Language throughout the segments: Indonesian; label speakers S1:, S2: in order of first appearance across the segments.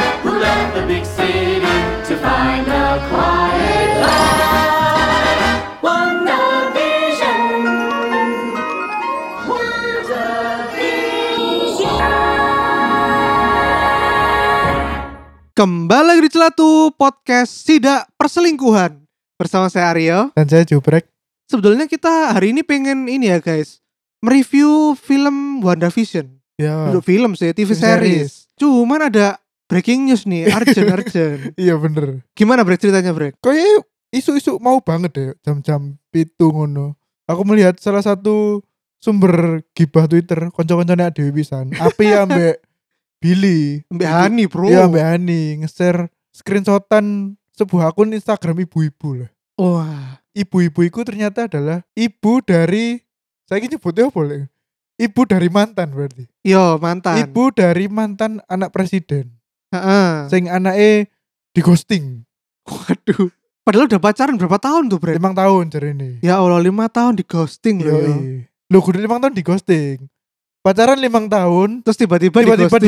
S1: in the big city to find a quiet life. Wonder Vision. Wonder
S2: Kembali lagi di Celatu Podcast Sidak Perselingkuhan Bersama saya Aryo
S3: Dan saya jubrek.
S2: Sebetulnya kita hari ini pengen ini ya guys Mereview film WandaVision
S3: Ya.
S2: Untuk film sih, TV
S3: Film
S2: series Cuman ada breaking news nih, urgent, urgent
S3: Iya bener.
S2: Gimana Brek ceritanya Brek?
S3: Kayaknya isu-isu mau banget deh jam-jam pitu ngono. Aku melihat salah satu sumber gibah Twitter, konco-koncone Dewi pisan. Api ambek Billy.
S2: Mbak Hani bro
S3: Iya ambek Ani nge-share screenshotan sebuah akun Instagram ibu-ibu lah.
S2: Wah
S3: Ibu-ibu itu ternyata adalah ibu dari saya ini nyebutnya apa boleh. Ibu dari mantan berarti.
S2: Yo Iya, mantan
S3: Ibu dari mantan anak presiden.
S2: Heeh.
S3: Sing anaknya di ghosting.
S2: Waduh Padahal udah pacaran berapa tahun tuh Brek?
S3: Emang tahun cari ini.
S2: Ya Allah lima tahun di ghosting
S3: Iya,
S2: loh ya.
S3: Yoi. Loh kudu limang tahun di ghosting Pacaran limang tahun
S2: Terus tiba-tiba,
S3: Tiba-tiba
S2: di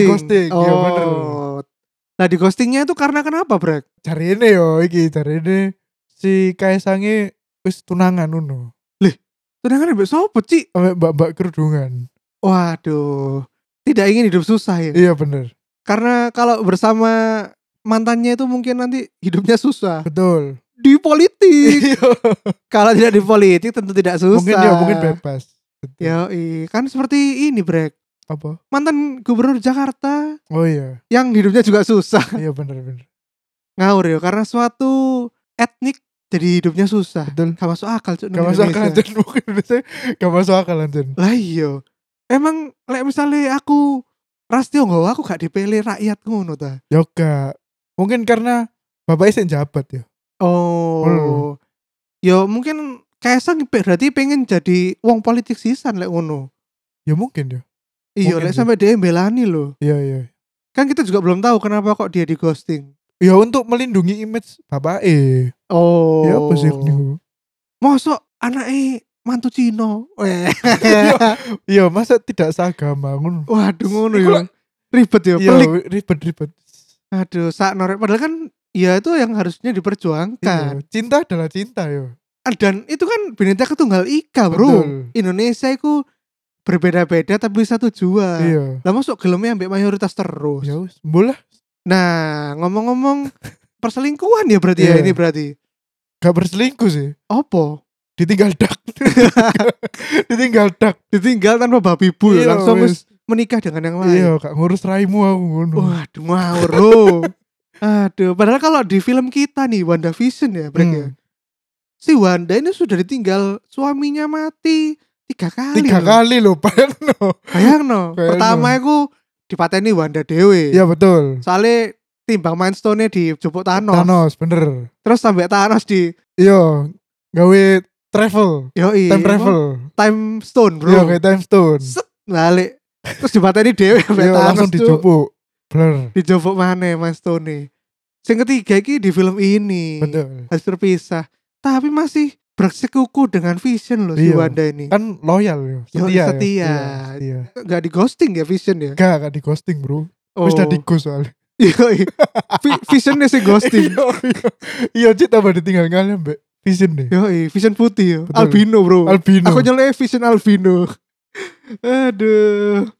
S2: ghosting
S3: di-ghosting. Iya, bener.
S2: Oh Nah di ghostingnya itu karena kenapa Brek?
S3: Cari ini yo iki cari ini Si Kaisangi wis tunangan uno
S2: Tunangan ambek sopo, Ci?
S3: Sampai mbak-mbak kerudungan
S2: Waduh. Tidak ingin hidup susah ya.
S3: Iya bener
S2: Karena kalau bersama mantannya itu mungkin nanti hidupnya susah.
S3: Betul
S2: Di politik.
S3: Iya.
S2: kalau tidak di politik tentu tidak susah.
S3: Mungkin ya mungkin bebas Betul.
S2: Yoi. kan seperti ini, Brek.
S3: Apa?
S2: Mantan gubernur Jakarta
S3: Oh iya
S2: yang hidupnya juga susah.
S3: Iya bener bener
S2: Ngawur ya karena suatu etnik jadi hidupnya susah.
S3: Betul
S2: Gak masuk akal, Cuk,
S3: Gak
S2: nang
S3: masuk akal
S2: Indonesia.
S3: anjen Mungkin biasanya Gak masuk akal anjen
S2: Lah iya. Emang lek misalnya aku Ras Tionghoa aku gak dipilih rakyat ngono ta.
S3: Yoga Ya, Mungkin karena Bapaknya sih jabat ya
S2: Oh. Ya mungkin Kaisang pe- berarti pengen jadi wong politik sisan lek ngono.
S3: Ya mungkin ya
S2: Iya,
S3: Mungkin
S2: lek
S3: sih.
S2: sampai dia belani loh.
S3: Iya iya
S2: Kan kita juga belum tahu kenapa kok dia di ghosting.
S3: Ya untuk melindungi image bapaknya
S2: Oh.
S3: Ya apa sih niku?
S2: Mosok anake mantu Eh, Cino. Weh.
S3: Iya, masa tidak seagama ngono.
S2: Waduh ngono
S3: Iku
S2: ya.
S3: lah-
S2: Ribet ya,
S3: Iya,
S2: pelik.
S3: ribet-ribet.
S2: Aduh, sak norek padahal kan ya itu yang harusnya diperjuangkan.
S3: Iya, cinta adalah cinta yo.
S2: Dan itu kan binatang ketunggal ika, Bro.
S3: Betul.
S2: Indonesia itu berbeda-beda tapi satu jua.
S3: Iya.
S2: Lah masuk gelemnya ambek mayoritas terus.
S3: Ya wis, mbolah
S2: Nah, ngomong-ngomong perselingkuhan ya berarti ya
S3: Iya.
S2: ini berarti.
S3: gak berselingkuh sih.
S2: Opo?
S3: Ditinggal dak. Ditinggal dak.
S2: Ditinggal tanpa babi bu
S3: Iya,
S2: langsung
S3: wis.
S2: wis menikah dengan yang lain.
S3: Iya, gak ngurus raimu aku ngono.
S2: Waduh, ngawur lo. Aduh, padahal kalau di film kita nih Wanda Vision ya, Brek ya.
S3: Hmm.
S2: Si Wanda ini sudah ditinggal suaminya mati tiga kali. ya. Iya.
S3: Tiga kali loh, bayangno.
S2: Bayang no.
S3: Bayangno.
S2: Pertama aku dipateni Wanda Dewe.
S3: Iya, betul.
S2: Soalnya timbang mindstone-nya di jupuk Thanos.
S3: Thanos, bener.
S2: Terus sampai Thanos di
S3: Iya, gawe travel,
S2: yoi,
S3: time travel.
S2: time stone, Iya, Bro.
S3: Iya, kayak time stone.
S2: Set balik. Terus dibateni dhewe sampe
S3: Iya,
S2: Thanos
S3: langsung
S2: tuh.
S3: dijupuk. Blur.
S2: Dijopok maneh Mas Tony. Sing ketiga iki di film ini.
S3: Betul.
S2: Harus terpisah. Tapi masih bersekuku dengan Vision loh si
S3: Iya.
S2: Wanda ini.
S3: kan loyal ya
S2: Yo,
S3: setia ya.
S2: setia.
S3: Iya, setia.
S2: Gak di ghosting ya Vision ya?
S3: gak gak di ghosting bro
S2: Oh.
S3: Kan wis udah di ghost soalnya
S2: Yoi. Vi- Vision sih ghosting.
S3: Iya, iya. iya cit tambah ditinggal kali mbak vision deh
S2: Yoi, Vision putih yo.
S3: Betul.
S2: Albino, Bro.
S3: albino
S2: Aku nyelnya Vision Albino. Aduh.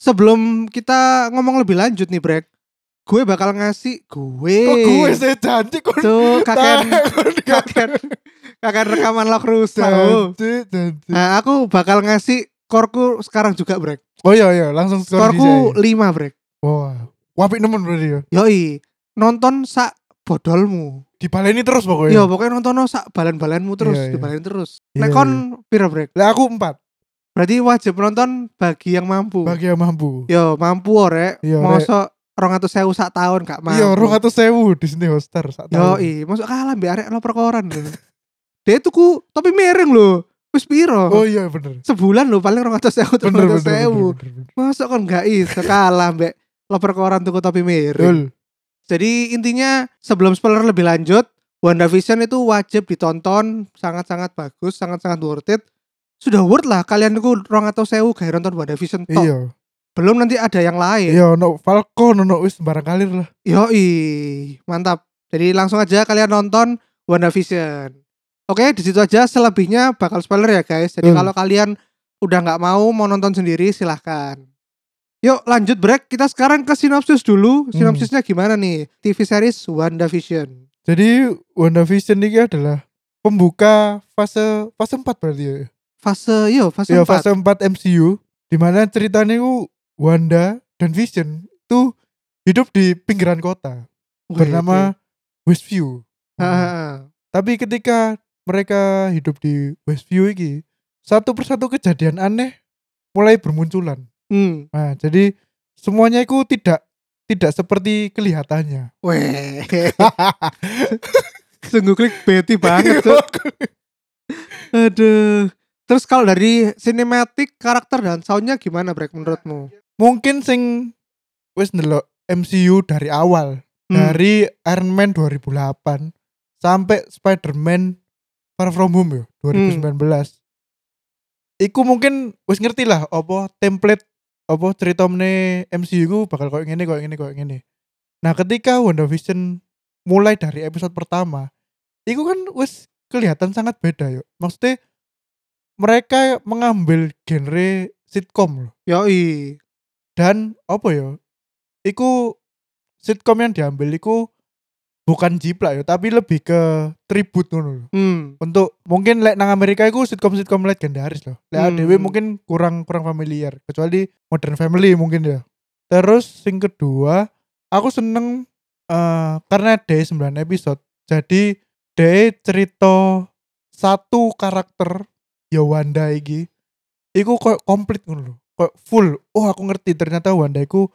S2: Sebelum kita ngomong lebih lanjut nih, Brek. Gue bakal ngasih gue.
S3: kok gue sih janji kok
S2: Tuh, kakek
S3: gak
S2: kakek kakek rekaman lock rusak. oh.
S3: janji janji
S2: Nah, aku bakal ngasih skorku sekarang juga, Brek.
S3: oh iya iya langsung skor
S2: Skorku
S3: di
S2: 5, Brek.
S3: wah wapik nemen berarti ya
S2: Yoi, nonton sak bodolmu.
S3: dibaleni terus
S2: Yo,
S3: pokoknya
S2: pokoknya nonton sak balan-balanmu terus,
S3: Oh, Iya, iya.
S2: dibalain terus.
S3: Iya,
S2: Nek kon pira, Brek?
S3: lah aku empat
S2: Berarti wajib nonton bagi yang mampu.
S3: bagi yang mampu
S2: Yo, mampu orek.
S3: Iya, Rek.
S2: Mosok 200.000 sak tahun gak mampu.
S3: iya rong atau sewu di sini hoster sak
S2: Yo, iya.
S3: tahun.
S2: mosok kalah mbek arek loper koran lho. Dia tuku tapi miring lho. Wis piro?
S3: oh iya bener
S2: sebulan lo paling rong atas sewu
S3: bener
S2: rong
S3: bener,
S2: atas sewu
S3: bener, bener, bener.
S2: masuk kan gak iso kalah mbak loper koran tuku topi miring
S3: Betul.
S2: jadi intinya sebelum spoiler lebih lanjut WandaVision itu wajib ditonton sangat-sangat bagus sangat-sangat worth it sudah worth lah kalian tuku rong atau sewu gak nonton WandaVision tok
S3: iya
S2: Belum nanti ada yang lain.
S3: Iya ono Falcon ono wis barang kalir lah.
S2: Yoi, mantap. Jadi langsung aja kalian nonton WandaVision. Oke, di situ aja selebihnya bakal spoiler ya guys. Jadi
S3: Hmm.
S2: kalau kalian udah nggak mau mau nonton sendiri silahkan. Yuk lanjut break, kita sekarang ke sinopsis dulu.
S3: Hmm.
S2: Sinopsisnya gimana nih? TV series WandaVision.
S3: Jadi WandaVision ini adalah pembuka fase fase 4 berarti ya.
S2: Fase, yo fase
S3: Ya,
S2: 4.
S3: fase 4 MCU dimana ceritanya itu Wanda dan Vision itu hidup di pinggiran kota
S2: Wih,
S3: bernama Westview.
S2: oke. Ha, ha, ha.
S3: Tapi ketika mereka hidup di Westview ini, satu persatu kejadian aneh mulai bermunculan.
S2: Hmm.
S3: Nah, jadi semuanya itu tidak tidak seperti kelihatannya.
S2: Weh. Sungguh klik beti banget tuh. Aduh. Terus kalau dari sinematik, karakter dan soundnya gimana Brek menurutmu?
S3: Mungkin sing wis ndelok MCU dari awal,
S2: Hmm.
S3: dari Iron Man 2008 sampai Spider-Man Far From Home ya 2019. Iku mungkin wis ngerti lah apa template apa cerita meneh MCU ku bakal koyo ngene koyo ngene koyo ngene. Nah, ketika WandaVision mulai dari episode pertama, iku kan wis kelihatan sangat beda yuk. Maksudnya mereka mengambil genre sitcom loh.
S2: Yoi.
S3: Dan apa ya? Iku sitcom yang diambil iku bukan jiplak ya, tapi lebih ke tribut ngono loh.
S2: Hmm.
S3: Untuk mungkin lek nang Amerika iku sitcom-sitcom legendaris loh. Lek
S2: Hmm.
S3: ADW mungkin kurang kurang familiar, kecuali Modern Family mungkin ya. Terus sing kedua, aku seneng eh, karena ada 9 episode. Jadi de cerita satu karakter ya Wanda iki. Iku kok komplit ngono lho. Kok full. Oh, aku ngerti ternyata Wanda iku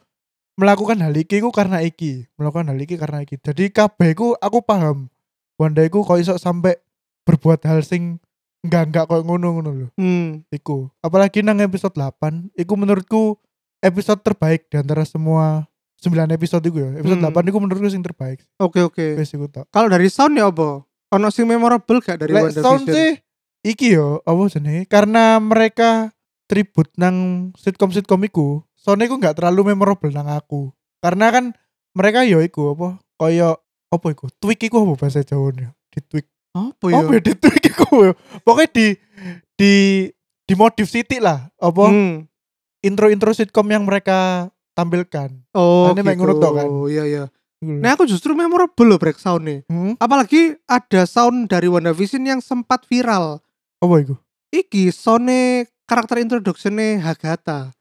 S3: melakukan hal iki iku karena iki, melakukan hal iki karena iki. Jadi kabeh iku aku paham. Wanda iku kok iso sampai berbuat hal sing enggak enggak kok ngono ngono lho.
S2: Hmm.
S3: Iku. Apalagi nang episode 8, iku menurutku episode terbaik di antara semua 9 episode iku ya. Episode
S2: Hmm.
S3: 8 iku menurutku sing terbaik.
S2: Oke oke.
S3: Wes iku tok.
S2: Kalau dari sound ya apa? Ono sing memorable gak dari
S3: Lek
S2: WandaVision?
S3: sound sih iki yo apa jenenge? Karena mereka tribut nang sitkom-sitkom iku, soundnya iku nggak terlalu memorable nang aku. Karena kan mereka yo iku apa koyo apa iku? Tweak iku apa bahasa Jawane? Di tweak.
S2: Apa ya?
S3: Oh, di tweak iku. yo. Pokoknya di di di modif sitik lah apa
S2: Hmm.
S3: intro-intro sitkom yang mereka tampilkan.
S2: Oh,
S3: Ini mek
S2: gitu.
S3: nurut tok kan?
S2: Iya iya.
S3: Iku lho.
S2: Nah aku justru memorable loh break sound nih.
S3: Hmm?
S2: Apalagi ada sound dari WandaVision yang sempat viral.
S3: Apa iku?
S2: Iki soundnya karakter introduction-nya Hagata.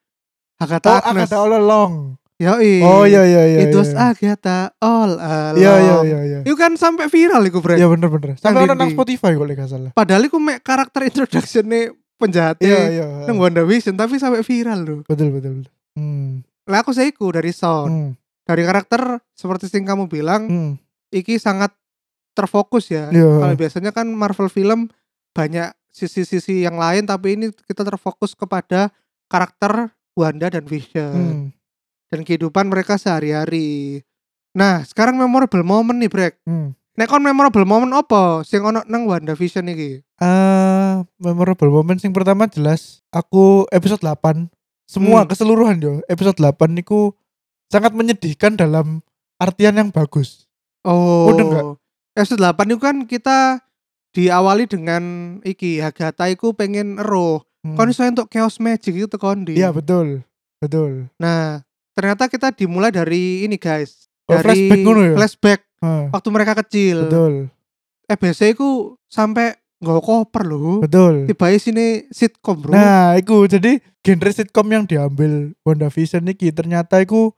S2: Hagata
S3: Oh,
S2: Agnes.
S3: kata all along.
S2: Yoi.
S3: Oh iya iya iya.
S2: It was
S3: iya.
S2: Agatha all along.
S3: Iya iya iya iya.
S2: Itu kan sampai viral iku, Brek.
S3: Iya bener-bener. Sampai orang nang
S2: dinding.
S3: Spotify kok lek gak salah.
S2: Padahal iku mek karakter introduction-nya penjahat
S3: Iya
S2: yeah,
S3: iya.
S2: nang WandaVision tapi sampai viral loh.
S3: Betul betul. betul. Hmm.
S2: Lah aku seiku dari sound,
S3: Hmm.
S2: dari karakter seperti yang kamu bilang,
S3: Hmm.
S2: iki sangat terfokus ya.
S3: Iya.
S2: Kalau biasanya kan Marvel film banyak sisi-sisi yang lain tapi ini kita terfokus kepada karakter Wanda dan Vision
S3: Hmm.
S2: dan kehidupan mereka sehari-hari. Nah, sekarang memorable moment nih, Brek.
S3: Hmm.
S2: Nek kon memorable moment apa sing ono nang WandaVision iki?
S3: Ah, memorable moment sing pertama jelas aku episode 8
S2: Hmm.
S3: semua keseluruhan yo episode 8 niku sangat menyedihkan dalam artian yang bagus.
S2: Oh,
S3: Udah nggak?
S2: Episode 8 itu kan kita diawali dengan iki Hagata iku pengen roh.
S3: Hmm.
S2: Kon iso entuk chaos magic gitu itu kondi.
S3: Iya betul. Betul.
S2: Nah, ternyata kita dimulai dari ini guys.
S3: Oh,
S2: Dari
S3: flashback ngono ya?
S2: flashback
S3: Ha,
S2: waktu mereka kecil.
S3: betul.
S2: EBC iku sampai nggak koper loh.
S3: Betul.
S2: Tiba sini sitcom bro.
S3: Nah, iku jadi genre sitcom yang diambil WandaVision niki ternyata iku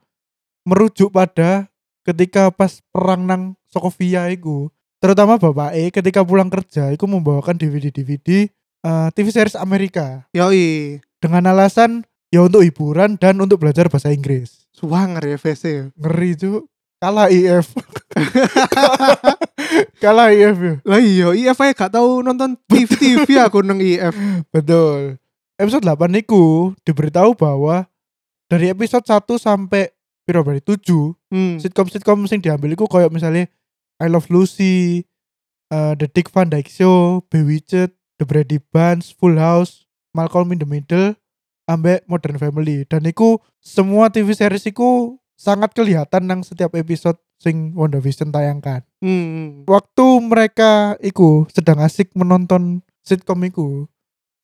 S3: merujuk pada ketika pas perang nang Sokovia iku, terutama Bapak E ketika pulang kerja iku membawakan DVD-DVD eh, TV series Amerika
S2: Yoi,
S3: dengan alasan ya untuk hiburan dan untuk belajar bahasa Inggris.
S2: suwanger ya EBC. ya.
S3: Ngeri cuk. Kalah IF. Kalah IF ya.
S2: Lah iya, IF aja gak tau nonton TV TV aku nang IF.
S3: Betul. Episode 8 niku diberitahu bahwa dari episode 1 sampai piro berarti 7,
S2: Hmm.
S3: sitkom-sitkom sing diambil iku koyo misalnya I Love Lucy, eh, The Dick Van Dyke Show, Bewitched, The Brady Bunch, Full House, Malcolm in the Middle, ambek Modern Family dan iku semua TV series iku sangat kelihatan nang setiap episode sing WandaVision tayangkan.
S2: Hmm.
S3: Waktu mereka iku sedang asik menonton sitkom iku,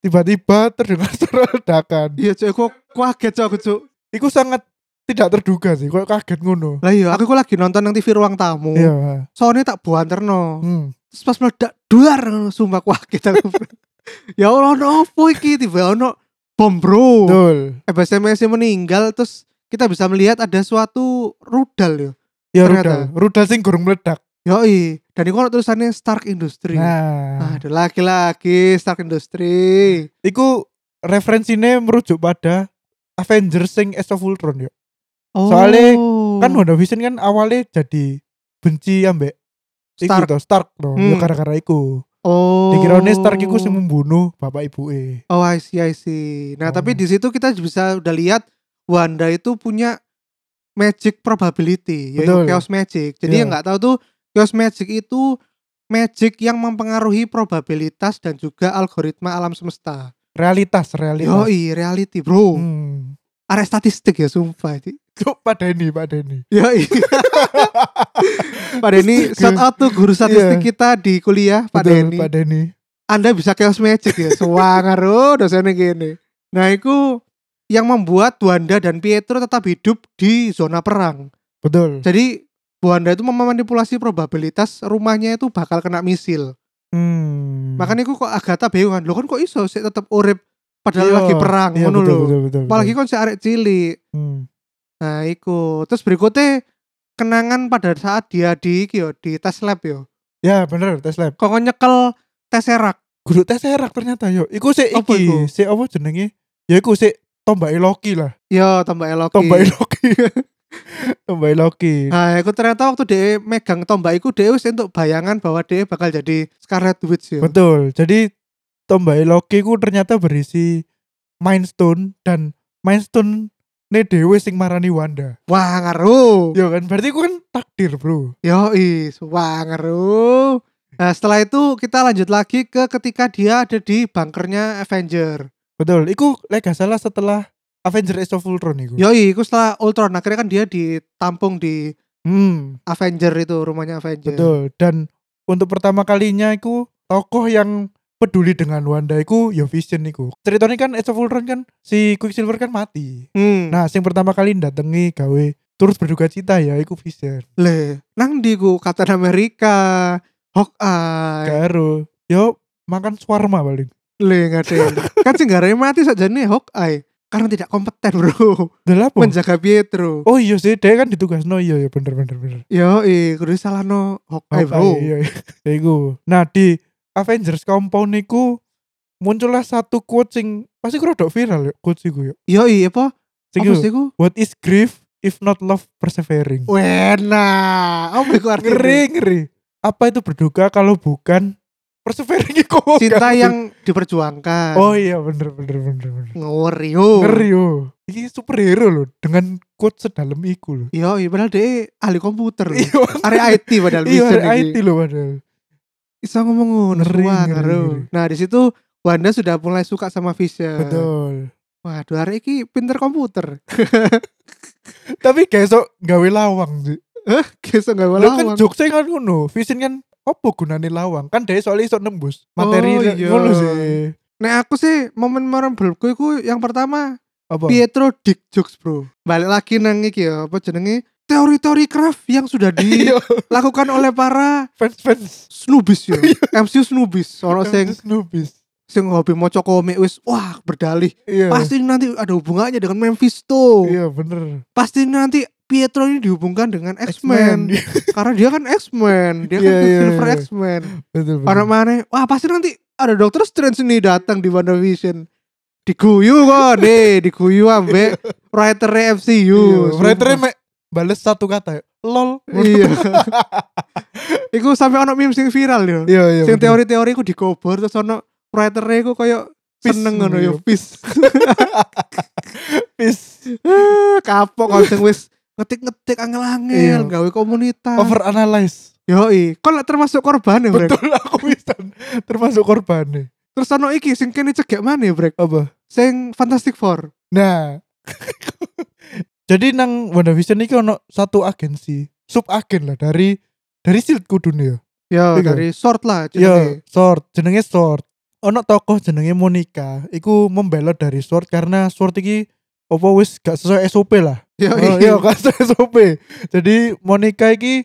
S3: tiba-tiba terdengar suara ledakan.
S2: Iya cuk, aku kaget cuk aku cuk.
S3: Iku sangat tidak terduga sih, kok kaget ngono.
S2: Lah iya, aku iku lagi nonton nang TV ruang tamu.
S3: Iya.
S2: Soalnya tak buanterno.
S3: Hmm.
S2: Terus pas meledak duar ngono, sumpah kaget aku. ya Allah ono opo iki tiba ono bom bro. Eh,
S3: Betul.
S2: SMS meninggal terus kita bisa melihat ada suatu rudal ya.
S3: Ya rudal,
S2: Ternyata.
S3: rudal sing gorong meledak.
S2: Yoi, dan iku ono tulisannya Stark Industry.
S3: Nah,
S2: Aduh lagi-lagi Stark Industry.
S3: iku referensinya merujuk pada Avengers sing Age of Ultron ya.
S2: Oh.
S3: Soalnya Kan
S2: Hmm.
S3: WandaVision kan awalnya jadi benci ambek
S2: Stark.
S3: Iku toh, Stark toh.
S2: Hmm.
S3: Ya gara-gara iku.
S2: Oh.
S3: Dikiraone Stark iku sing membunuh bapak ibu e.
S2: Oh, I see, I see. Nah,
S3: Oh.
S2: tapi di situ kita bisa udah lihat Wanda itu punya magic probability, yaitu
S3: Betul.
S2: chaos magic. Jadi
S3: Iya.
S2: yang nggak tahu tuh chaos magic itu magic yang mempengaruhi probabilitas dan juga algoritma alam semesta.
S3: Realitas, realitas.
S2: Yoi, reality, bro.
S3: Hmm.
S2: Arek statistik ya, sumpah. Ci.
S3: Cuk, pada ini, pada ini.
S2: Yoi. Pak Denny, shout out tuh guru statistik
S3: Iya.
S2: kita di kuliah, Pak Denny.
S3: Pada ini.
S2: Anda bisa chaos magic ya Suwangar oh dosennya gini Nah itu yang membuat Wanda dan Pietro tetap hidup di zona perang
S3: Betul.
S2: Jadi Wanda itu memanipulasi probabilitas rumahnya itu bakal kena misil
S3: Hmm.
S2: Makanya aku kok Agatha bingung Loh kan kok iso sih tetap urip padahal
S3: Iya,
S2: lagi perang
S3: iya,
S2: ngono
S3: betul,
S2: lho.
S3: betul, betul,
S2: Apalagi
S3: betul.
S2: kan si arek cilik
S3: Hmm.
S2: Nah iku Terus berikutnya kenangan pada saat dia di iki yo, di tes lab yo
S3: Ya, bener tes lab.
S2: Kok nyekel Tesseract
S3: Guru tes erak ternyata yo. Iku sik
S2: Apa iku?
S3: iki, sik apa jenenge? Ya iku sik tombake Loki lah.
S2: Yo tambah Loki
S3: Tombake Loki. tombake Loki.
S2: Nah, aku ternyata waktu dia megang tombak itu dia wis untuk bayangan bahwa dia bakal jadi Scarlet
S3: iya.
S2: Witch ya.
S3: Betul. Jadi tombake Loki ku ternyata berisi Mind Stone dan Mind Stone ne dewe sing marani Wanda.
S2: Wah, ngaruh.
S3: Ya kan berarti ku kan takdir, Bro.
S2: Yo, is, wah ngaruh. Nah, setelah itu kita lanjut lagi ke ketika dia ada di bunkernya Avenger.
S3: Betul. Iku lek gak salah setelah Avengers Age of Ultron iku.
S2: Yo, itu setelah Ultron akhirnya kan dia ditampung di
S3: Hmm,
S2: Avenger itu rumahnya Avenger.
S3: betul. Dan untuk pertama kalinya iku tokoh yang peduli dengan Wanda iku ya Vision iku. Ceritanya kan Age of Ultron kan si Quicksilver kan mati.
S2: Hmm. Nah,
S3: Nah, yang pertama kali datengi gawe turut berduka cita ya iku Vision.
S2: le, nang di ku Captain America, Hawkeye,
S3: Karo yo makan swarma paling.
S2: le nggak ada. yang- kan singgarannya mati saja nih Hawkeye karena tidak kompeten bro.
S3: Delap
S2: menjaga Pietro.
S3: Oh iya sih, dia kan ditugas no iya ya bener bener bener.
S2: Yo, eh, kudu salah no Hawkeye bro.
S3: Apa, Iya, iya. Ya, iku. Nah di Avengers Compound niku muncullah satu quote sing pasti rodok viral ya quotes iku ya.
S2: Yo, iya apa?
S3: Sing
S2: Apa
S3: iku,
S2: sih Oh, ku?
S3: What is grief if not love persevering?
S2: Wena, apa iku artinya?
S3: ngeri ngeri. Apa itu berduka kalau bukan persevering iku?
S2: Cinta yang diperjuangkan.
S3: Oh iya bener bener bener bener.
S2: ngeri yo.
S3: Ngeri yo. Ini superhero loh dengan quote sedalam iku loh.
S2: Yo, iya padahal dia ahli komputer. loh.
S3: Iya.
S2: Area IT padahal
S3: Iya,
S2: Vision iki.
S3: ada
S2: Eh.
S3: IT loh padahal.
S2: Iso ngomong ngono,
S3: Ngeri,
S2: wah,
S3: ngeri,
S2: ngaruh.
S3: ngeri.
S2: Nah, di situ Wanda sudah mulai suka sama Vision.
S3: Betul.
S2: Waduh, hari ini pinter komputer.
S3: Tapi besok gawe lawang sih.
S2: Hah, gesek gak
S3: Lho kan
S2: lawang.
S3: jokesnya kan ngono, Vision kan apa gunane lawang? Kan dia soalnya iso nembus materi
S2: Oh,
S3: le-
S2: iya.
S3: ngono sih.
S2: Nah, aku sih momen memorableku iku yang pertama
S3: Apa?
S2: Pietro Dick Jokes bro balik lagi nang iki ya apa jenenge teori-teori craft yang sudah
S3: Iya,
S2: dilakukan oleh para
S3: fans-fans
S2: snubis ya
S3: Iya.
S2: MC snubis orang sing
S3: fans Snoopis.
S2: sing hobi maca komik wis wah berdalih
S3: Iya.
S2: pasti nanti ada hubungannya dengan Mephisto
S3: Iya, bener.
S2: pasti nanti Pietro ini dihubungkan dengan X-Men
S3: Iya,
S2: karena dia kan X-Men dia
S3: Iya,
S2: kan
S3: iya,
S2: Silver
S3: iya.
S2: X-Men
S3: Betul. bener.
S2: anak mana wah pasti nanti ada Doctor Strange ini datang di WandaVision diguyu kok deh diguyu ambek writer
S3: Iya,
S2: MCU
S3: writernya mek bales satu kata ya. Lol.
S2: iya iku sampai ono meme sing viral yo
S3: Iya, iya.
S2: sing
S3: bener.
S2: teori-teori iku dikobor terus ono writer iku koyo
S3: Peace
S2: seneng ngono yo
S3: ngono
S2: peace
S3: Peace.
S2: Eh, kapok kon sing wis ngetik-ngetik angel-angel
S3: Iya.
S2: gawe komunitas
S3: Over analyze.
S2: yoi kon lek termasuk korban ya brek
S3: Betul aku bisa termasuk korbannya.
S2: terus ono iki sing kene cegek mana brek
S3: Apa?
S2: sing Fantastic Four.
S3: Nah. Jadi nang WandaVision iki ono satu agensi, sub agen lah dari dari Shield Kudune ya.
S2: Ya
S3: Iya.
S2: dari short lah
S3: Iya,
S2: jenenge.
S3: Sword, jenenge Sword. Ono tokoh jenenge Monica, iku membelot dari Sword karena Sword iki opo wis gak sesuai SOP lah.
S2: Yo,
S3: Oh, iya, gak sesuai SOP. Jadi Monica iki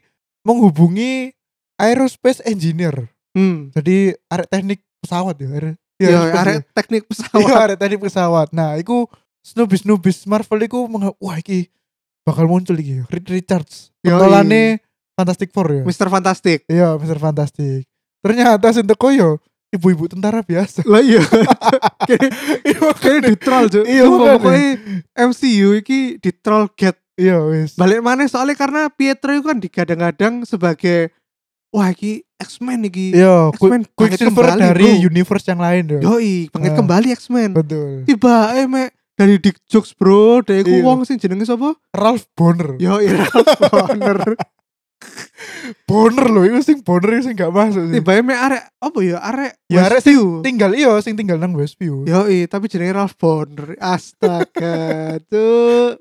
S3: menghubungi aerospace engineer.
S2: Hmm.
S3: Jadi arek teknik pesawat ya. Aer iya,
S2: Yo,
S3: aerospace
S2: arek teknik
S3: Iya
S2: pesawat.
S3: ada teknik pesawat. Nah, iku snubis snubis Marvel iku mengha- wah iki bakal muncul iki Reed Richards.
S2: Yoi.
S3: Pentolane Fantastic Four ya.
S2: Mister Fantastic.
S3: Iya, Mister Fantastic. Ternyata Sinteko yo ibu-ibu tentara biasa.
S2: Lah iya.
S3: Iya,
S2: Kayaknya di troll Cuk.
S3: Iya,
S2: Sumpah,
S3: makanya.
S2: pokoknya MCU iki di troll get
S3: Iya, wis.
S2: balik mana soalnya karena Pietro itu kan digadang-gadang sebagai wah iki X-Men iki
S3: Iya, Qui-
S2: X-Men bangkit
S3: Quicksilver
S2: kembali,
S3: dari
S2: bro.
S3: universe yang lain yo.
S2: yoi pengen
S3: Ah.
S2: kembali X-Men
S3: Betul.
S2: tiba eh mek dari Dick Jokes bro dari ku
S3: Iya.
S2: wong sing jenenge sapa
S3: Ralph Bonner.
S2: yoi Ralph Bonner
S3: Bonner loh, itu sing Bonner itu sing gak masuk sih.
S2: tiba eh mek arek apa ya arek
S3: Ya, arek
S2: Westview.
S3: Tinggal iya sing tinggal nang Westview.
S2: yoi tapi jenenge Ralph Bonner astaga tuh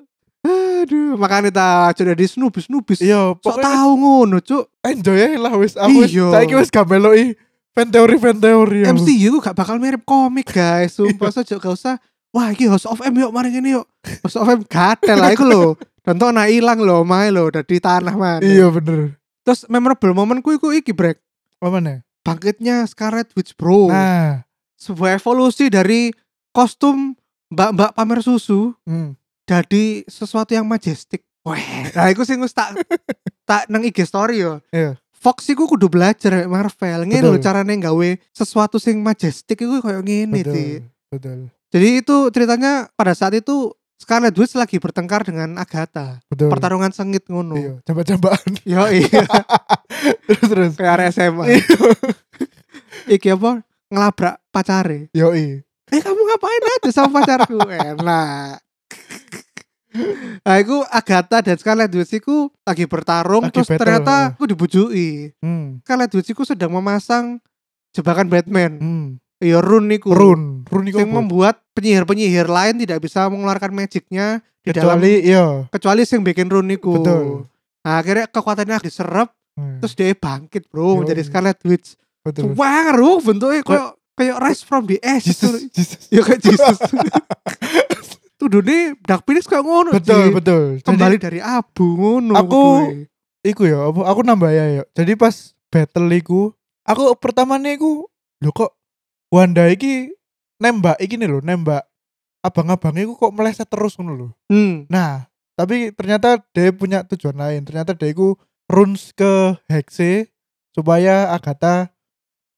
S2: aduh makanya ta sudah di snubis snubis
S3: Iya,
S2: sok
S3: pokoknya
S2: tahu ngono cuk
S3: enjoy aja lah wis aku wis
S2: Iya.
S3: saiki wis gak meloi fan teori fan teori aku.
S2: MCU gak bakal mirip komik guys sumpah saja gak usah wah ini House of M yuk mari ini yuk House of M gatel lah iku lho contoh nak ilang lho main lho dari tanah man
S3: iya bener
S2: terus memorable moment ku iku iki break
S3: apa mana
S2: bangkitnya Scarlet Witch bro
S3: nah
S2: sebuah evolusi dari kostum mbak-mbak pamer susu
S3: hmm.
S2: jadi sesuatu yang majestic weh nah iku sing wis tak tak nang IG story yo
S3: Iya.
S2: Fox iku kudu belajar mek Marvel ngene lho
S3: Betul.
S2: carane gawe sesuatu sing majestic iku koyo ngene sih
S3: betul betul
S2: Jadi itu ceritanya pada saat itu Scarlet Witch lagi bertengkar dengan Agatha.
S3: betul
S2: Pertarungan sengit ngono.
S3: Hmm. iya jambak-jambakan
S2: Yo iya
S3: terus terus
S2: kayak area SMA. Iki apa? Ngelabrak pacare.
S3: yoi
S2: Eh kamu ngapain aja sama pacarku? Enak. Nah, aku Agatha dan Scarlet Witch iku lagi bertarung
S3: Lagi
S2: terus
S3: battle,
S2: ternyata
S3: oh.
S2: aku dibujui.
S3: hmm.
S2: Scarlet Witch iku sedang memasang jebakan Batman.
S3: hmm.
S2: Ya rune iku.
S3: run run iku
S2: Yang
S3: apa?
S2: membuat penyihir-penyihir lain tidak bisa mengeluarkan magicnya di dalam
S3: kecuali iya
S2: kecuali sing bikin rune iku.
S3: Betul.
S2: Nah, akhirnya kekuatannya diserap
S3: Hmm,
S2: terus dia bangkit, Bro,
S3: Yoi.
S2: menjadi Scarlet Witch.
S3: betul
S2: Wah, bro, bentuknya kayak kayak rise from the ash.
S3: Jesus Jesus
S2: Ya kayak Jesus. Tuduh nih Dark Phoenix kayak ngono. Ji.
S3: betul betul Jadi,
S2: Kembali dari abu ngono.
S3: Aku-
S2: kuduwe.
S3: iku ya apa aku nambah ya ya jadi pas battle iku aku pertamanya iku lho kok Wanda iki nembak iki nih lho nembak abang-abang iku kok meleset terus ngono lho
S2: hmm.
S3: nah tapi ternyata dia punya tujuan lain ternyata dia iku runs ke Hexe supaya Agatha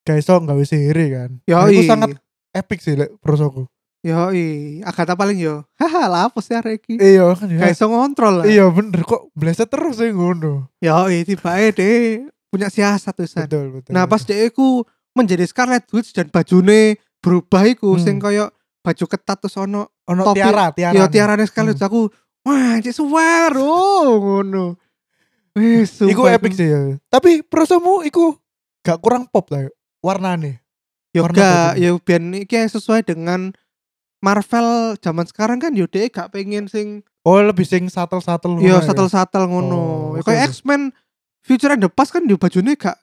S3: gak iso gak wis kan
S2: Yoi.
S3: Nah, iku sangat epic sih lek prosoku
S2: Yoi. Agatha paling yo. Haha, lapus ya Reki.
S3: iya kan ya
S2: Gak iso ngontrol lah.
S3: iya bener kok meleset terus sih ngono
S2: Yoi, tiba-tiba deh punya siasat tuh.
S3: betul betul
S2: Nah pas dia iku menjadi Scarlet Witch dan bajune berubah iku
S3: Hmm.
S2: sing koyo baju ketat terus ono
S3: ono
S2: topi-
S3: tiara tiara
S2: ya tiarane Scarlet
S3: Hmm.
S2: Witch aku wah cek suar oh ngono. Wis
S3: Iku epic sih ya. Tapi prosomu iku gak kurang pop lah ya. warnane.
S2: Yo
S3: warna
S2: gak
S3: bajunya.
S2: yo ben iki sesuai dengan Marvel zaman sekarang kan yo dhek gak pengen sing
S3: Oh lebih sing satel-satel ngono
S2: yo
S3: ya.
S2: satel-satel ngono.
S3: Oh,
S2: Ya
S3: oke,
S2: Kayak
S3: oke.
S2: X-Men Future and the Past kan yo bajune gak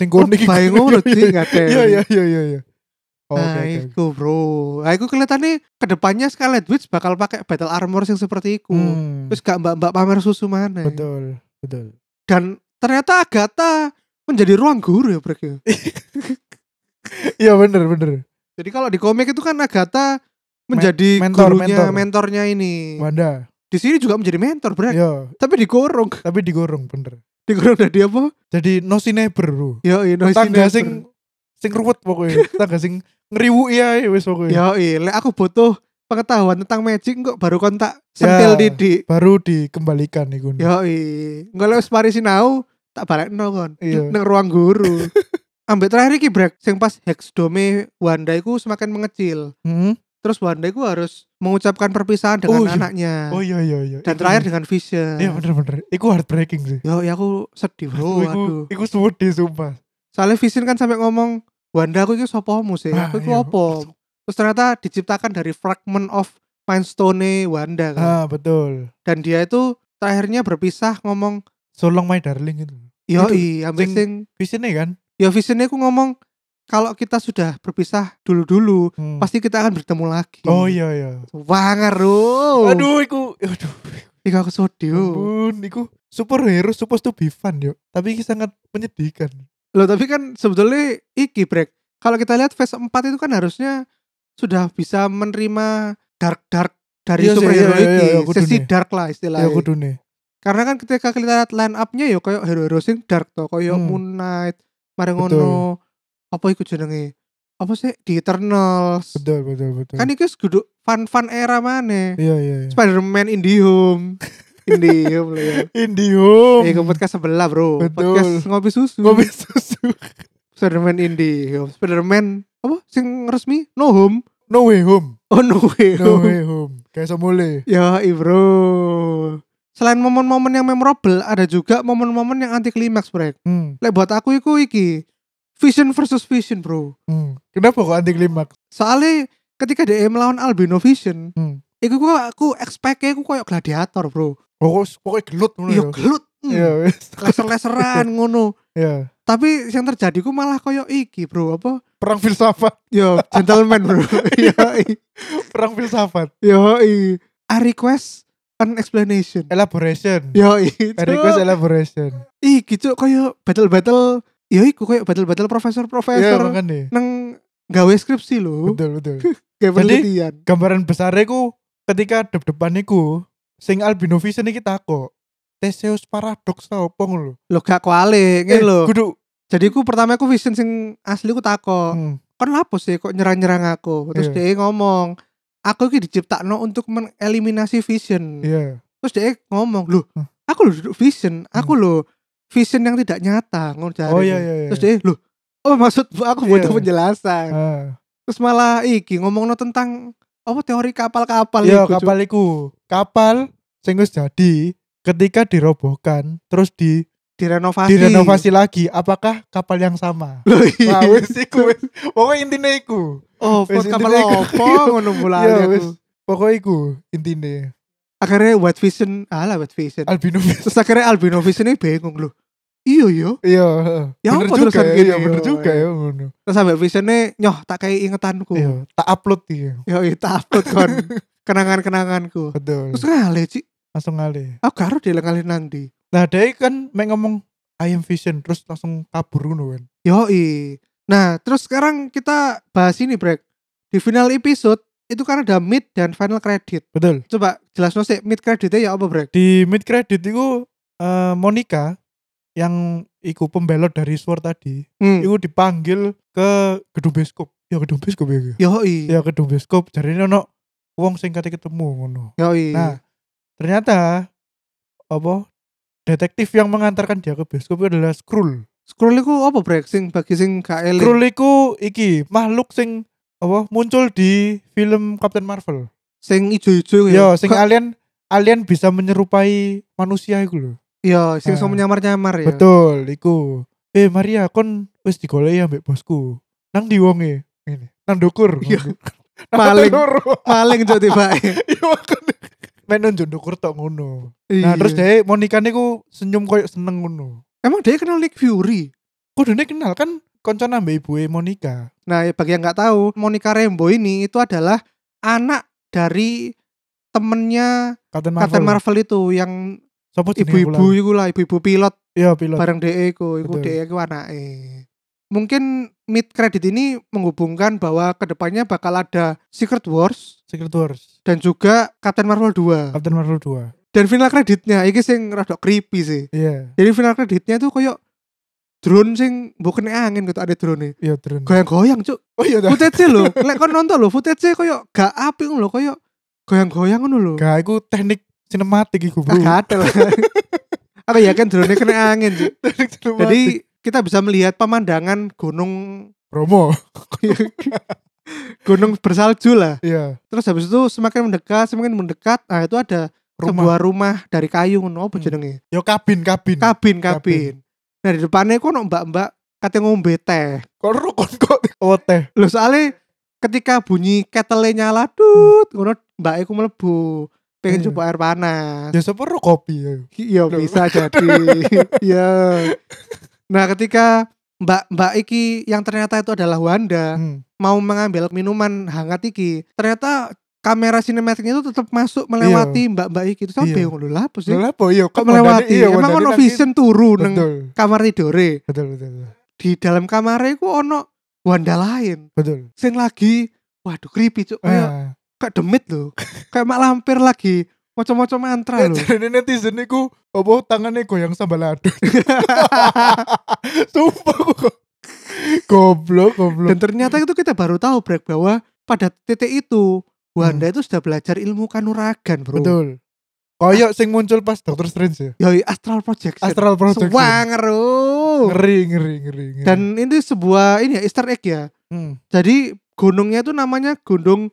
S3: sing kuning iki.
S2: lebay ngono sih
S3: Iya
S2: gak
S3: iya iya iya iya, iya. Oh, Oke
S2: Nah,
S3: oke, oke.
S2: iku bro. Nah, iku kelihatannya kedepannya Scarlet Witch bakal pakai battle armor yang seperti iku.
S3: Hmm,
S2: Terus gak mbak-mbak pamer susu mana.
S3: betul betul.
S2: Dan ternyata Agatha menjadi ruang guru ya Brek ya.
S3: Iya bener bener.
S2: Jadi kalau di komik itu kan Agatha menjadi
S3: mentor,
S2: gurunya,
S3: mentor.
S2: mentornya ini.
S3: Wanda.
S2: Di sini juga menjadi mentor Brek.
S3: Iya,
S2: Tapi digorong.
S3: tapi digorong bener.
S2: Digorong dari apa?
S3: Jadi no neighbor bro.
S2: Yo, no
S3: Tangga
S2: sinewer.
S3: sing sing ruwet pokoknya. Tangga sing ngeriwu iya wis pokoknya.
S2: Yo, lek aku butuh pengetahuan tentang magic kok baru kontak sentil
S3: Ya.
S2: didik.
S3: Baru dikembalikan iku.
S2: Yo, enggak lewat mari sinau tak balik no kon.
S3: Iya.
S2: nang ruang guru. Ambek terakhir iki brek sing pas hexdome Wanda iku semakin mengecil.
S3: Hmm?
S2: Terus Wanda iku harus mengucapkan perpisahan dengan
S3: Oh, iya.
S2: anaknya.
S3: Oh iya iya iya.
S2: Dan
S3: Iku
S2: terakhir dengan Vision.
S3: Iya bener bener. Iku heartbreaking sih.
S2: Yo, ya aku sedih bro.
S3: Oh, iku,
S2: Aduh.
S3: iku wedi sumpah.
S2: Soalnya Vision kan sampai ngomong, Wanda aku iki sopomu sih?
S3: Ah,
S2: Aku iku
S3: iya.
S2: opo? terus ternyata diciptakan dari fragment of Mindstone Wanda kan.
S3: ah betul
S2: dan dia itu terakhirnya berpisah ngomong
S3: so long my darling itu
S2: yoi ambil
S3: sing-
S2: sing
S3: visionnya kan
S2: ya visionnya aku ngomong kalau kita sudah berpisah dulu-dulu
S3: Hmm.
S2: pasti kita akan bertemu lagi
S3: oh iya iya
S2: wanger oh
S3: aduh iku aduh
S2: Iku aku sodio
S3: ampun iku superhero supposed to be fun yuk tapi ini sangat menyedihkan
S2: loh tapi kan sebetulnya iki break kalau kita lihat phase 4 itu kan harusnya sudah bisa menerima dark dark dari
S3: Iya sih,
S2: superhero
S3: iya, iya,
S2: iki
S3: iya, iya,
S2: sisi
S3: kudune.
S2: dark lah istilahnya
S3: ya kudune
S2: karena kan ketika kita lihat line up-nya ya kayak hero-hero sing dark to kayak
S3: Hmm.
S2: Moon Knight mari ngono apa iku jenenge apa sih di Eternals
S3: betul betul betul
S2: kan iki kudu fun-fun era mana
S3: iya iya iya
S2: Spider-Man Indihome Indihome loh ya
S3: Indihome
S2: Eh, ke podcast sebelah bro
S3: Betul.
S2: Podcast Ngopi Susu
S3: Ngopi susu
S2: Spider-Man Indihome Spider-Man Apa? Sing resmi? No Home
S3: No way home
S2: Oh No Way
S3: No
S2: Home
S3: way home Kayak semule
S2: Ya bro Selain momen-momen yang memorable Ada juga momen-momen yang anti klimaks bro
S3: hmm.
S2: Lek buat aku iku iki Vision versus Vision bro
S3: hmm. Kenapa kok anti klimaks
S2: Soalnya ketika dia melawan Albino Vision
S3: Hmm.
S2: Iku aku, aku expect-nya aku kayak gladiator bro
S3: Oh, kok- pokoknya gelut ngono
S2: Iya
S3: ya.
S2: gelut mm.
S3: Iya wes.
S2: Laser-laseran ngono
S3: Iya.
S2: Tapi yang terjadi ku malah koyo iki bro Apa?
S3: Perang filsafat
S2: Yo gentleman bro Yo
S3: Perang filsafat
S2: Yoi I request an explanation
S3: Elaboration
S2: Yoi cuk.
S3: I request elaboration
S2: Ih gitu kayak battle-battle Yo iku kayak battle-battle
S3: Iya
S2: profesor-profesor
S3: makanya
S2: Neng gawe skripsi loh
S3: Betul betul
S2: Kayak
S3: Jadi-
S2: penelitian
S3: Gambaran besarnya ku Ketika dep-depan iku Sing albino vision ini kita kok Theseus paradox tau apa ngono lho
S2: lo gak kuali ngene
S3: Eh,
S2: lho.
S3: Kudu
S2: jadi aku pertama aku vision sing asli aku takok
S3: Hmm,
S2: kon lapo sih kok nyerang-nyerang aku terus
S3: Iya.
S2: dia ngomong aku ini diciptakno untuk mengeliminasi vision
S3: Iya
S2: terus dia ngomong loh
S3: Hah?
S2: aku lo duduk vision aku lo vision yang tidak nyata ngono jare
S3: Hmm. Oh
S2: dia.
S3: iya iya iya.
S2: terus dia loh oh maksud aku
S3: Iya.
S2: butuh penjelasan
S3: Ah.
S2: terus malah iki ngomongno tentang apa teori kapal-kapal iku,
S3: Iya
S2: Cuk.
S3: kapal iku. Kapal sing wis jadi ketika dirobohkan terus di
S2: direnovasi
S3: direnovasi lagi, apakah kapal yang sama?
S2: Loh, iya.
S3: Wah, wis iku wis. Pokoke intine iku.
S2: oh pos
S3: Wis,
S2: kapal
S3: intinya iku.
S2: opo ngono mulai
S3: Iya,
S2: aku.
S3: wis. Pokoke iku intine.
S2: akhirnya white vision alah white vision
S3: Albino.
S2: terus akhirnya albino vision ini bingung loh iya iya
S3: Iya.
S2: Ya
S3: bener
S2: apa
S3: juga,
S2: terusan gini,
S3: iya, bener
S2: iya.
S3: juga ya ngono.
S2: terus sampai visionnya nyoh tak kayak ingetanku
S3: Iya, tak upload iki.
S2: ya itu upload kon kenangan-kenanganku
S3: Betul.
S2: terus ngale Ci.
S3: Langsung ngale.
S2: aku harus dia ngalih Oh, nang di
S3: Nah, dia kan mek ngomong I am vision terus langsung kabur ngono kan.
S2: yoi nah terus sekarang kita bahas ini break di final episode itu kan ada mid dan final credit
S3: Betul.
S2: coba jelas sih mid creditnya ya apa break
S3: di mid credit itu eh, Monica yang iku pembelot dari Sword tadi
S2: hmm.
S3: iku dipanggil ke gedung bioskop ya gedung bioskop ya iku.
S2: yoi
S3: ya gedung bioskop jadi ini ono wong sing kate ketemu ngono
S2: yoi
S3: nah ternyata apa detektif yang mengantarkan dia ke bioskop itu adalah Skrull
S2: scroll itu apa break sing bagi sing gak eling
S3: Skrull iku iki makhluk sing apa muncul di film Captain Marvel
S2: sing ijo-ijo
S3: ya sing alien alien bisa menyerupai manusia iku lho
S2: ya sing iso
S3: Ah.
S2: menyamar-nyamar ya
S3: Betul, iku. Eh Maria, kon wis digoleki ambek bosku. Nang di wonge. Ngene. Nang dukur.
S2: Iya.
S3: Nang
S2: Paling.
S3: loro.
S2: paling cok tiba
S3: Iya, makane. Main nunjuk dukur tok ngono.
S2: Iya.
S3: Nah, terus deh Monica niku senyum koyo seneng ngono.
S2: emang dia kenal Nick Fury
S3: Kudune kenal kan koncoan ambek ibuke Monica.
S2: nah ya bagi yang nggak tahu Monica Rambeau ini itu adalah anak dari temennya
S3: Captain Marvel.
S2: Captain Marvel itu yang
S3: Sopo jenenge
S2: ibu-ibu
S3: pula?
S2: itu lah ibu-ibu pilot
S3: Iya, pilot.
S2: bareng DE iku iku
S3: Betul.
S2: DE iku anake mungkin mid credit ini menghubungkan bahwa kedepannya bakal ada Secret Wars
S3: Secret Wars.
S2: dan juga Captain Marvel 2
S3: Captain Marvel 2.
S2: dan final kreditnya ini sing rada creepy sih
S3: Iya,
S2: jadi final kreditnya tuh koyok drone sing bukan angin gitu ada drone
S3: iya Drone.
S2: goyang-goyang cuk
S3: Oh iya dah.
S2: footage lho lek kon nonton lho footage koyo gak apik lho koyo goyang-goyang ngono lho Ah,
S3: Gak, iku teknik sinematik iku, Bro.
S2: gak ada lah aku yakin drone kena angin Cuk.
S3: Teknik sinematik.
S2: jadi kita bisa melihat pemandangan gunung
S3: promo.
S2: gunung bersalju lah
S3: Iya,
S2: terus habis itu semakin mendekat semakin mendekat nah itu ada
S3: rumah.
S2: sebuah rumah dari kayu ngono apa
S3: Hmm.
S2: jenenge
S3: Yo kabin, kabin.
S2: kabin kabin nah di depannya kok ono mbak-mbak kate ngombe teh
S3: Kok rukun kok Oh teh
S2: lho soalnya ketika bunyi ketele nyala tut ngono mbak aku melebu pengen
S3: Iya.
S2: coba air panas
S3: Ya seperti kopi ya.
S2: iya
S3: Loh.
S2: bisa jadi ya nah ketika mbak mbak iki yang ternyata itu adalah Wanda
S3: Hmm.
S2: mau mengambil minuman hangat iki ternyata kamera sinematiknya itu tetap masuk melewati mbak-mbak iki terus
S3: Iya.
S2: sampe ngono lha apa sih
S3: Lah po iya
S2: kok
S3: kok
S2: melewati
S3: badannya- iya,
S2: emang
S3: badannya
S2: ono
S3: nangis.
S2: vision turu neng
S3: Betul.
S2: kamar tidore
S3: Betul betul. betul.
S2: di dalam kamarnya ku ono Wanda lain
S3: Betul.
S2: sing lagi waduh creepy cuk kayak
S3: Ah.
S2: kayak demit loh kayak mak lampir lagi moco-moco mantra loh
S3: Jadi netizen niku apa tangannya goyang sambal adu. Sumpah aku kok. Goblok, goblok.
S2: dan ternyata itu kita baru tahu Brek bahwa pada titik itu Wanda itu sudah belajar ilmu kanuragan bro
S3: Hmm. Betul. Koyok sing muncul pas Doctor Strange ya.
S2: Yoi, astral projection
S3: Astral Projection.
S2: Sewanger, oh.
S3: Ngeri, ngeri, ngeri. ngeri.
S2: dan ini sebuah ini ya Easter egg ya
S3: Hmm,
S2: jadi gunungnya itu namanya Gunung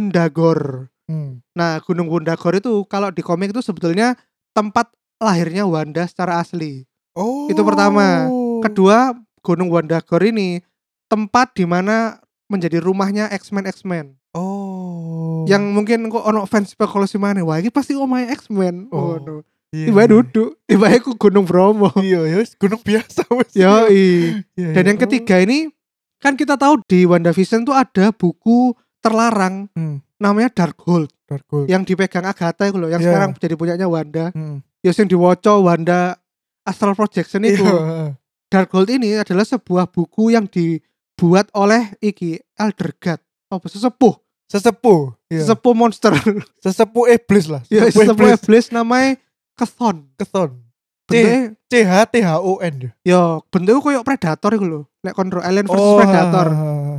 S2: Wondagor
S3: hmm.
S2: Nah, Gunung Wundagor itu kalau di komik itu sebetulnya tempat lahirnya Wanda secara asli.
S3: Oh.
S2: Itu pertama. Kedua, Gunung Wundagor ini tempat di mana menjadi rumahnya X-Men X-Men.
S3: Oh.
S2: Yang mungkin kok ono fans spekulasi mana, wah ini pasti omahe X-Men. Oh,
S3: Oh,
S2: no.
S3: Iya.
S2: Tiba duduk, tiba ku Gunung Bromo.
S3: Iya, ya wis, gunung biasa wis.
S2: Yoi.
S3: Iya,
S2: Ya. Dan
S3: iya.
S2: yang ketiga ini kan kita tahu di WandaVision tuh ada buku terlarang
S3: Hmm.
S2: namanya Darkhold
S3: Darkhold.
S2: yang dipegang Agatha itu loh yang
S3: Iya.
S2: sekarang jadi punyanya Wanda.
S3: Hmm.
S2: ya sing diwoco Wanda Astral Projection itu
S3: Iya.
S2: Dark Gold ini adalah sebuah buku yang dibuat oleh iki Elder God apa sesepuh
S3: Sesepuh. Iya.
S2: sesepuh monster
S3: Sesepuh iblis lah.
S2: ya sesepuh iblis namanya Kethon
S3: Keton.
S2: bentuknya
S3: C H T H O N ya.
S2: ya bentuknya kayak predator gitu loh lek kontrol alien versus
S3: Oh,
S2: predator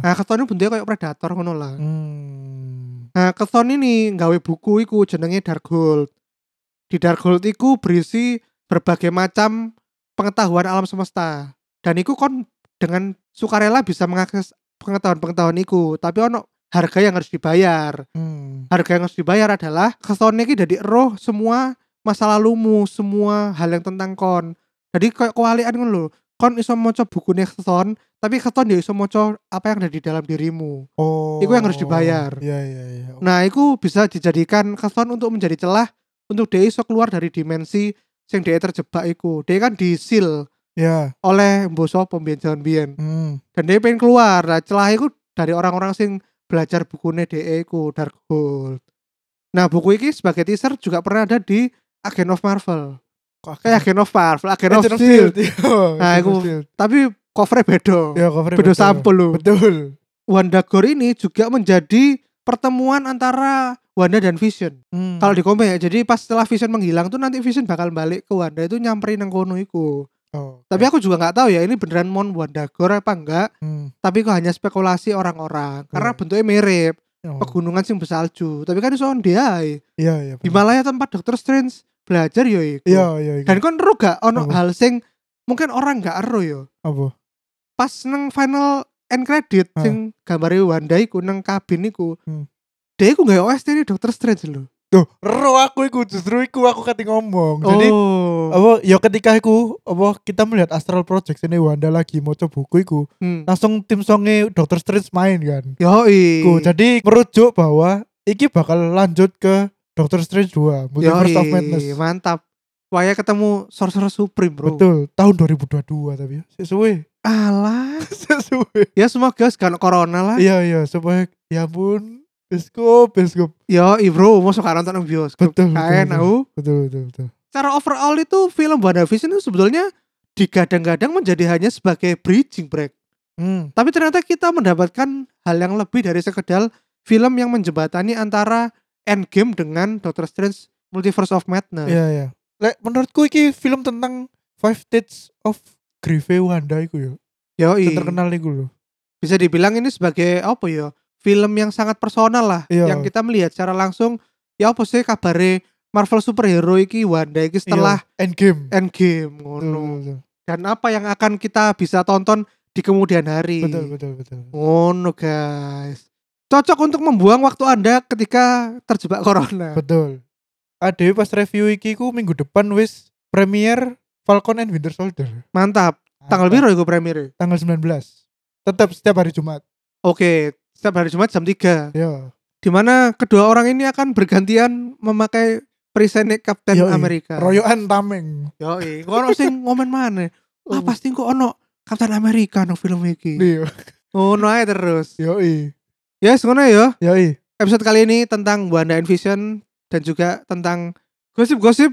S2: nah Kethon ini bentuknya kayak predator ngono lah
S3: Hmm.
S2: nah Kethon ini nggawe buku iku jenenge Dark Gold di Dark Gold iku berisi berbagai macam pengetahuan alam semesta dan iku kon dengan sukarela bisa mengakses pengetahuan-pengetahuan iku tapi ono harga yang harus dibayar
S3: Hmm.
S2: harga yang harus dibayar adalah kesone iki dari roh semua masa lalumu semua hal yang tentang kon jadi kayak kewalian kan lho kon iso moco bukunya keson tapi keson ya iso moco apa yang ada di dalam dirimu
S3: Oh.
S2: Iku yang harus dibayar.
S3: Iya iya iya.
S2: nah itu bisa dijadikan keson untuk menjadi celah untuk dia iso keluar dari dimensi yang dia terjebak iku dia kan disil
S3: Iya.
S2: oleh boso pembian jalan bian
S3: Hmm.
S2: dan dia pengen keluar nah celah itu dari orang-orang sing belajar bukunya DE ku Darkhold nah buku ini sebagai teaser juga pernah ada di Agent of Marvel
S3: Kok
S2: kayak Agent of Marvel Agent of
S3: Agent of
S2: Shield
S3: Eh, Iya,
S2: Nah,
S3: Agent of
S2: iku-
S3: Shield.
S2: E tapi covernya beda
S3: Ya, covernya
S2: beda
S3: betul.
S2: sampul lu
S3: Betul.
S2: Wanda Gore ini juga menjadi pertemuan antara Wanda dan Vision
S3: Hmm.
S2: kalau di komik ya jadi pas setelah Vision menghilang tuh nanti Vision bakal balik ke Wanda itu nyamperin nang kono iku
S3: Oh,
S2: tapi
S3: oke.
S2: aku juga nggak tahu ya ini beneran mon Wanda Gore apa enggak
S3: Hmm.
S2: tapi kok hanya spekulasi orang-orang karena
S3: Iya.
S2: bentuknya mirip
S3: Oh.
S2: pegunungan sing bersalju tapi kan iso ndiae
S3: Iya iya. bener.
S2: Himalaya tempat Dr. Strange belajar yo iku
S3: Iya Hmm. iya. iku.
S2: dan kon ero gak ono
S3: Apa?
S2: hal sing mungkin orang gak ero yo
S3: apa?
S2: pas neng final end credit
S3: Ah.
S2: sing gambare Wanda iku neng kabin iku
S3: Hmm.
S2: dia iku gak OST ini Dr. Strange lho
S3: Tuh, ero aku iku justru iku aku kati ngomong. Jadi
S2: oh
S3: apa ya ketika iku apa kita melihat Astral Project ini Wanda lagi mau coba buku iku
S2: hmm.
S3: langsung tim songnya Doctor Strange main kan.
S2: yoi
S3: Iku, jadi merujuk bahwa iki bakal lanjut ke Doctor Strange 2 Multiverse of Madness.
S2: yoi mantap Waya ketemu Sorcerer Supreme bro
S3: Betul, tahun 2022 tapi ya. Sesuai.
S2: alah
S3: Sesuai.
S2: ya semoga sekarang corona lah
S3: Iya iya, supaya ya pun bioskop, bioskop.
S2: Yo, bro, mau suka nonton nang bioskop.
S3: Betul,
S2: Kaen
S3: betul,
S2: aku.
S3: Betul betul betul.
S2: Secara overall itu film WandaVision itu sebetulnya digadang-gadang menjadi hanya sebagai bridging break.
S3: Hmm.
S2: Tapi ternyata kita mendapatkan hal yang lebih dari sekedar film yang menjembatani antara Endgame dengan Doctor Strange Multiverse of Madness.
S3: Iya iya. Lek menurutku iki film tentang Five States of Grieve Wanda iku ya.
S2: Yoi.
S3: Yang terkenal iku lho.
S2: Bisa dibilang ini sebagai apa ya? Film yang sangat personal lah
S3: Iya.
S2: yang kita melihat secara langsung ya apa sih kabare Marvel superhero iki Wanda iki setelah
S3: Iya, Hmm. Endgame.
S2: Endgame
S3: Betul,
S2: ngono.
S3: betul,
S2: dan apa yang akan kita bisa tonton di kemudian hari.
S3: betul, betul, betul.
S2: Ngono guys. Cocok untuk membuang waktu Anda ketika terjebak corona.
S3: Betul. Adewe pas review iki ku minggu depan wis premier Falcon and Winter Soldier.
S2: Mantap. Tanggal biru itu premiere.
S3: Tanggal 19. Tetap setiap hari Jumat.
S2: Oke, setiap hari Jumat jam 3
S3: Ya.
S2: di mana kedua orang ini akan bergantian memakai perisai Kapten
S3: Yoi.
S2: Amerika.
S3: Royoan tameng.
S2: Yoi, kok ono sing ngomen mana? Ah
S3: Oh.
S2: pasti kok ono Kapten Amerika no film iki.
S3: Iya.
S2: Ngono ae terus.
S3: Yoi.
S2: Ya, yes, ngono ya.
S3: Yoi.
S2: Episode kali ini tentang Wanda and Vision dan juga tentang gosip-gosip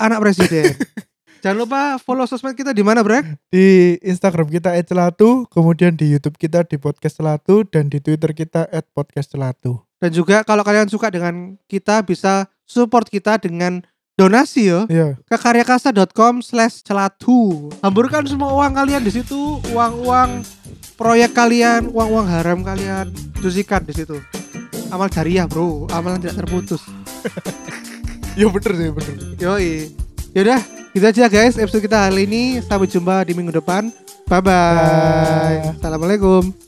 S2: anak presiden. Jangan lupa follow sosmed kita di mana, Brek?
S3: Di Instagram kita @celatu, kemudian di YouTube kita di podcast celatu dan di Twitter kita @podcastcelatu.
S2: Dan juga kalau kalian suka dengan kita bisa support kita dengan donasi yo
S3: Iya.
S2: ke karyakasta.com slash celatu hamburkan semua uang kalian di situ uang-uang proyek kalian uang-uang haram kalian cucikan di situ amal jariah bro amalan tidak terputus
S3: Iya bener sih, bener.
S2: yoi yaudah gitu aja guys episode kita hari ini sampai jumpa di minggu depan bye bye
S3: Bye.
S2: assalamualaikum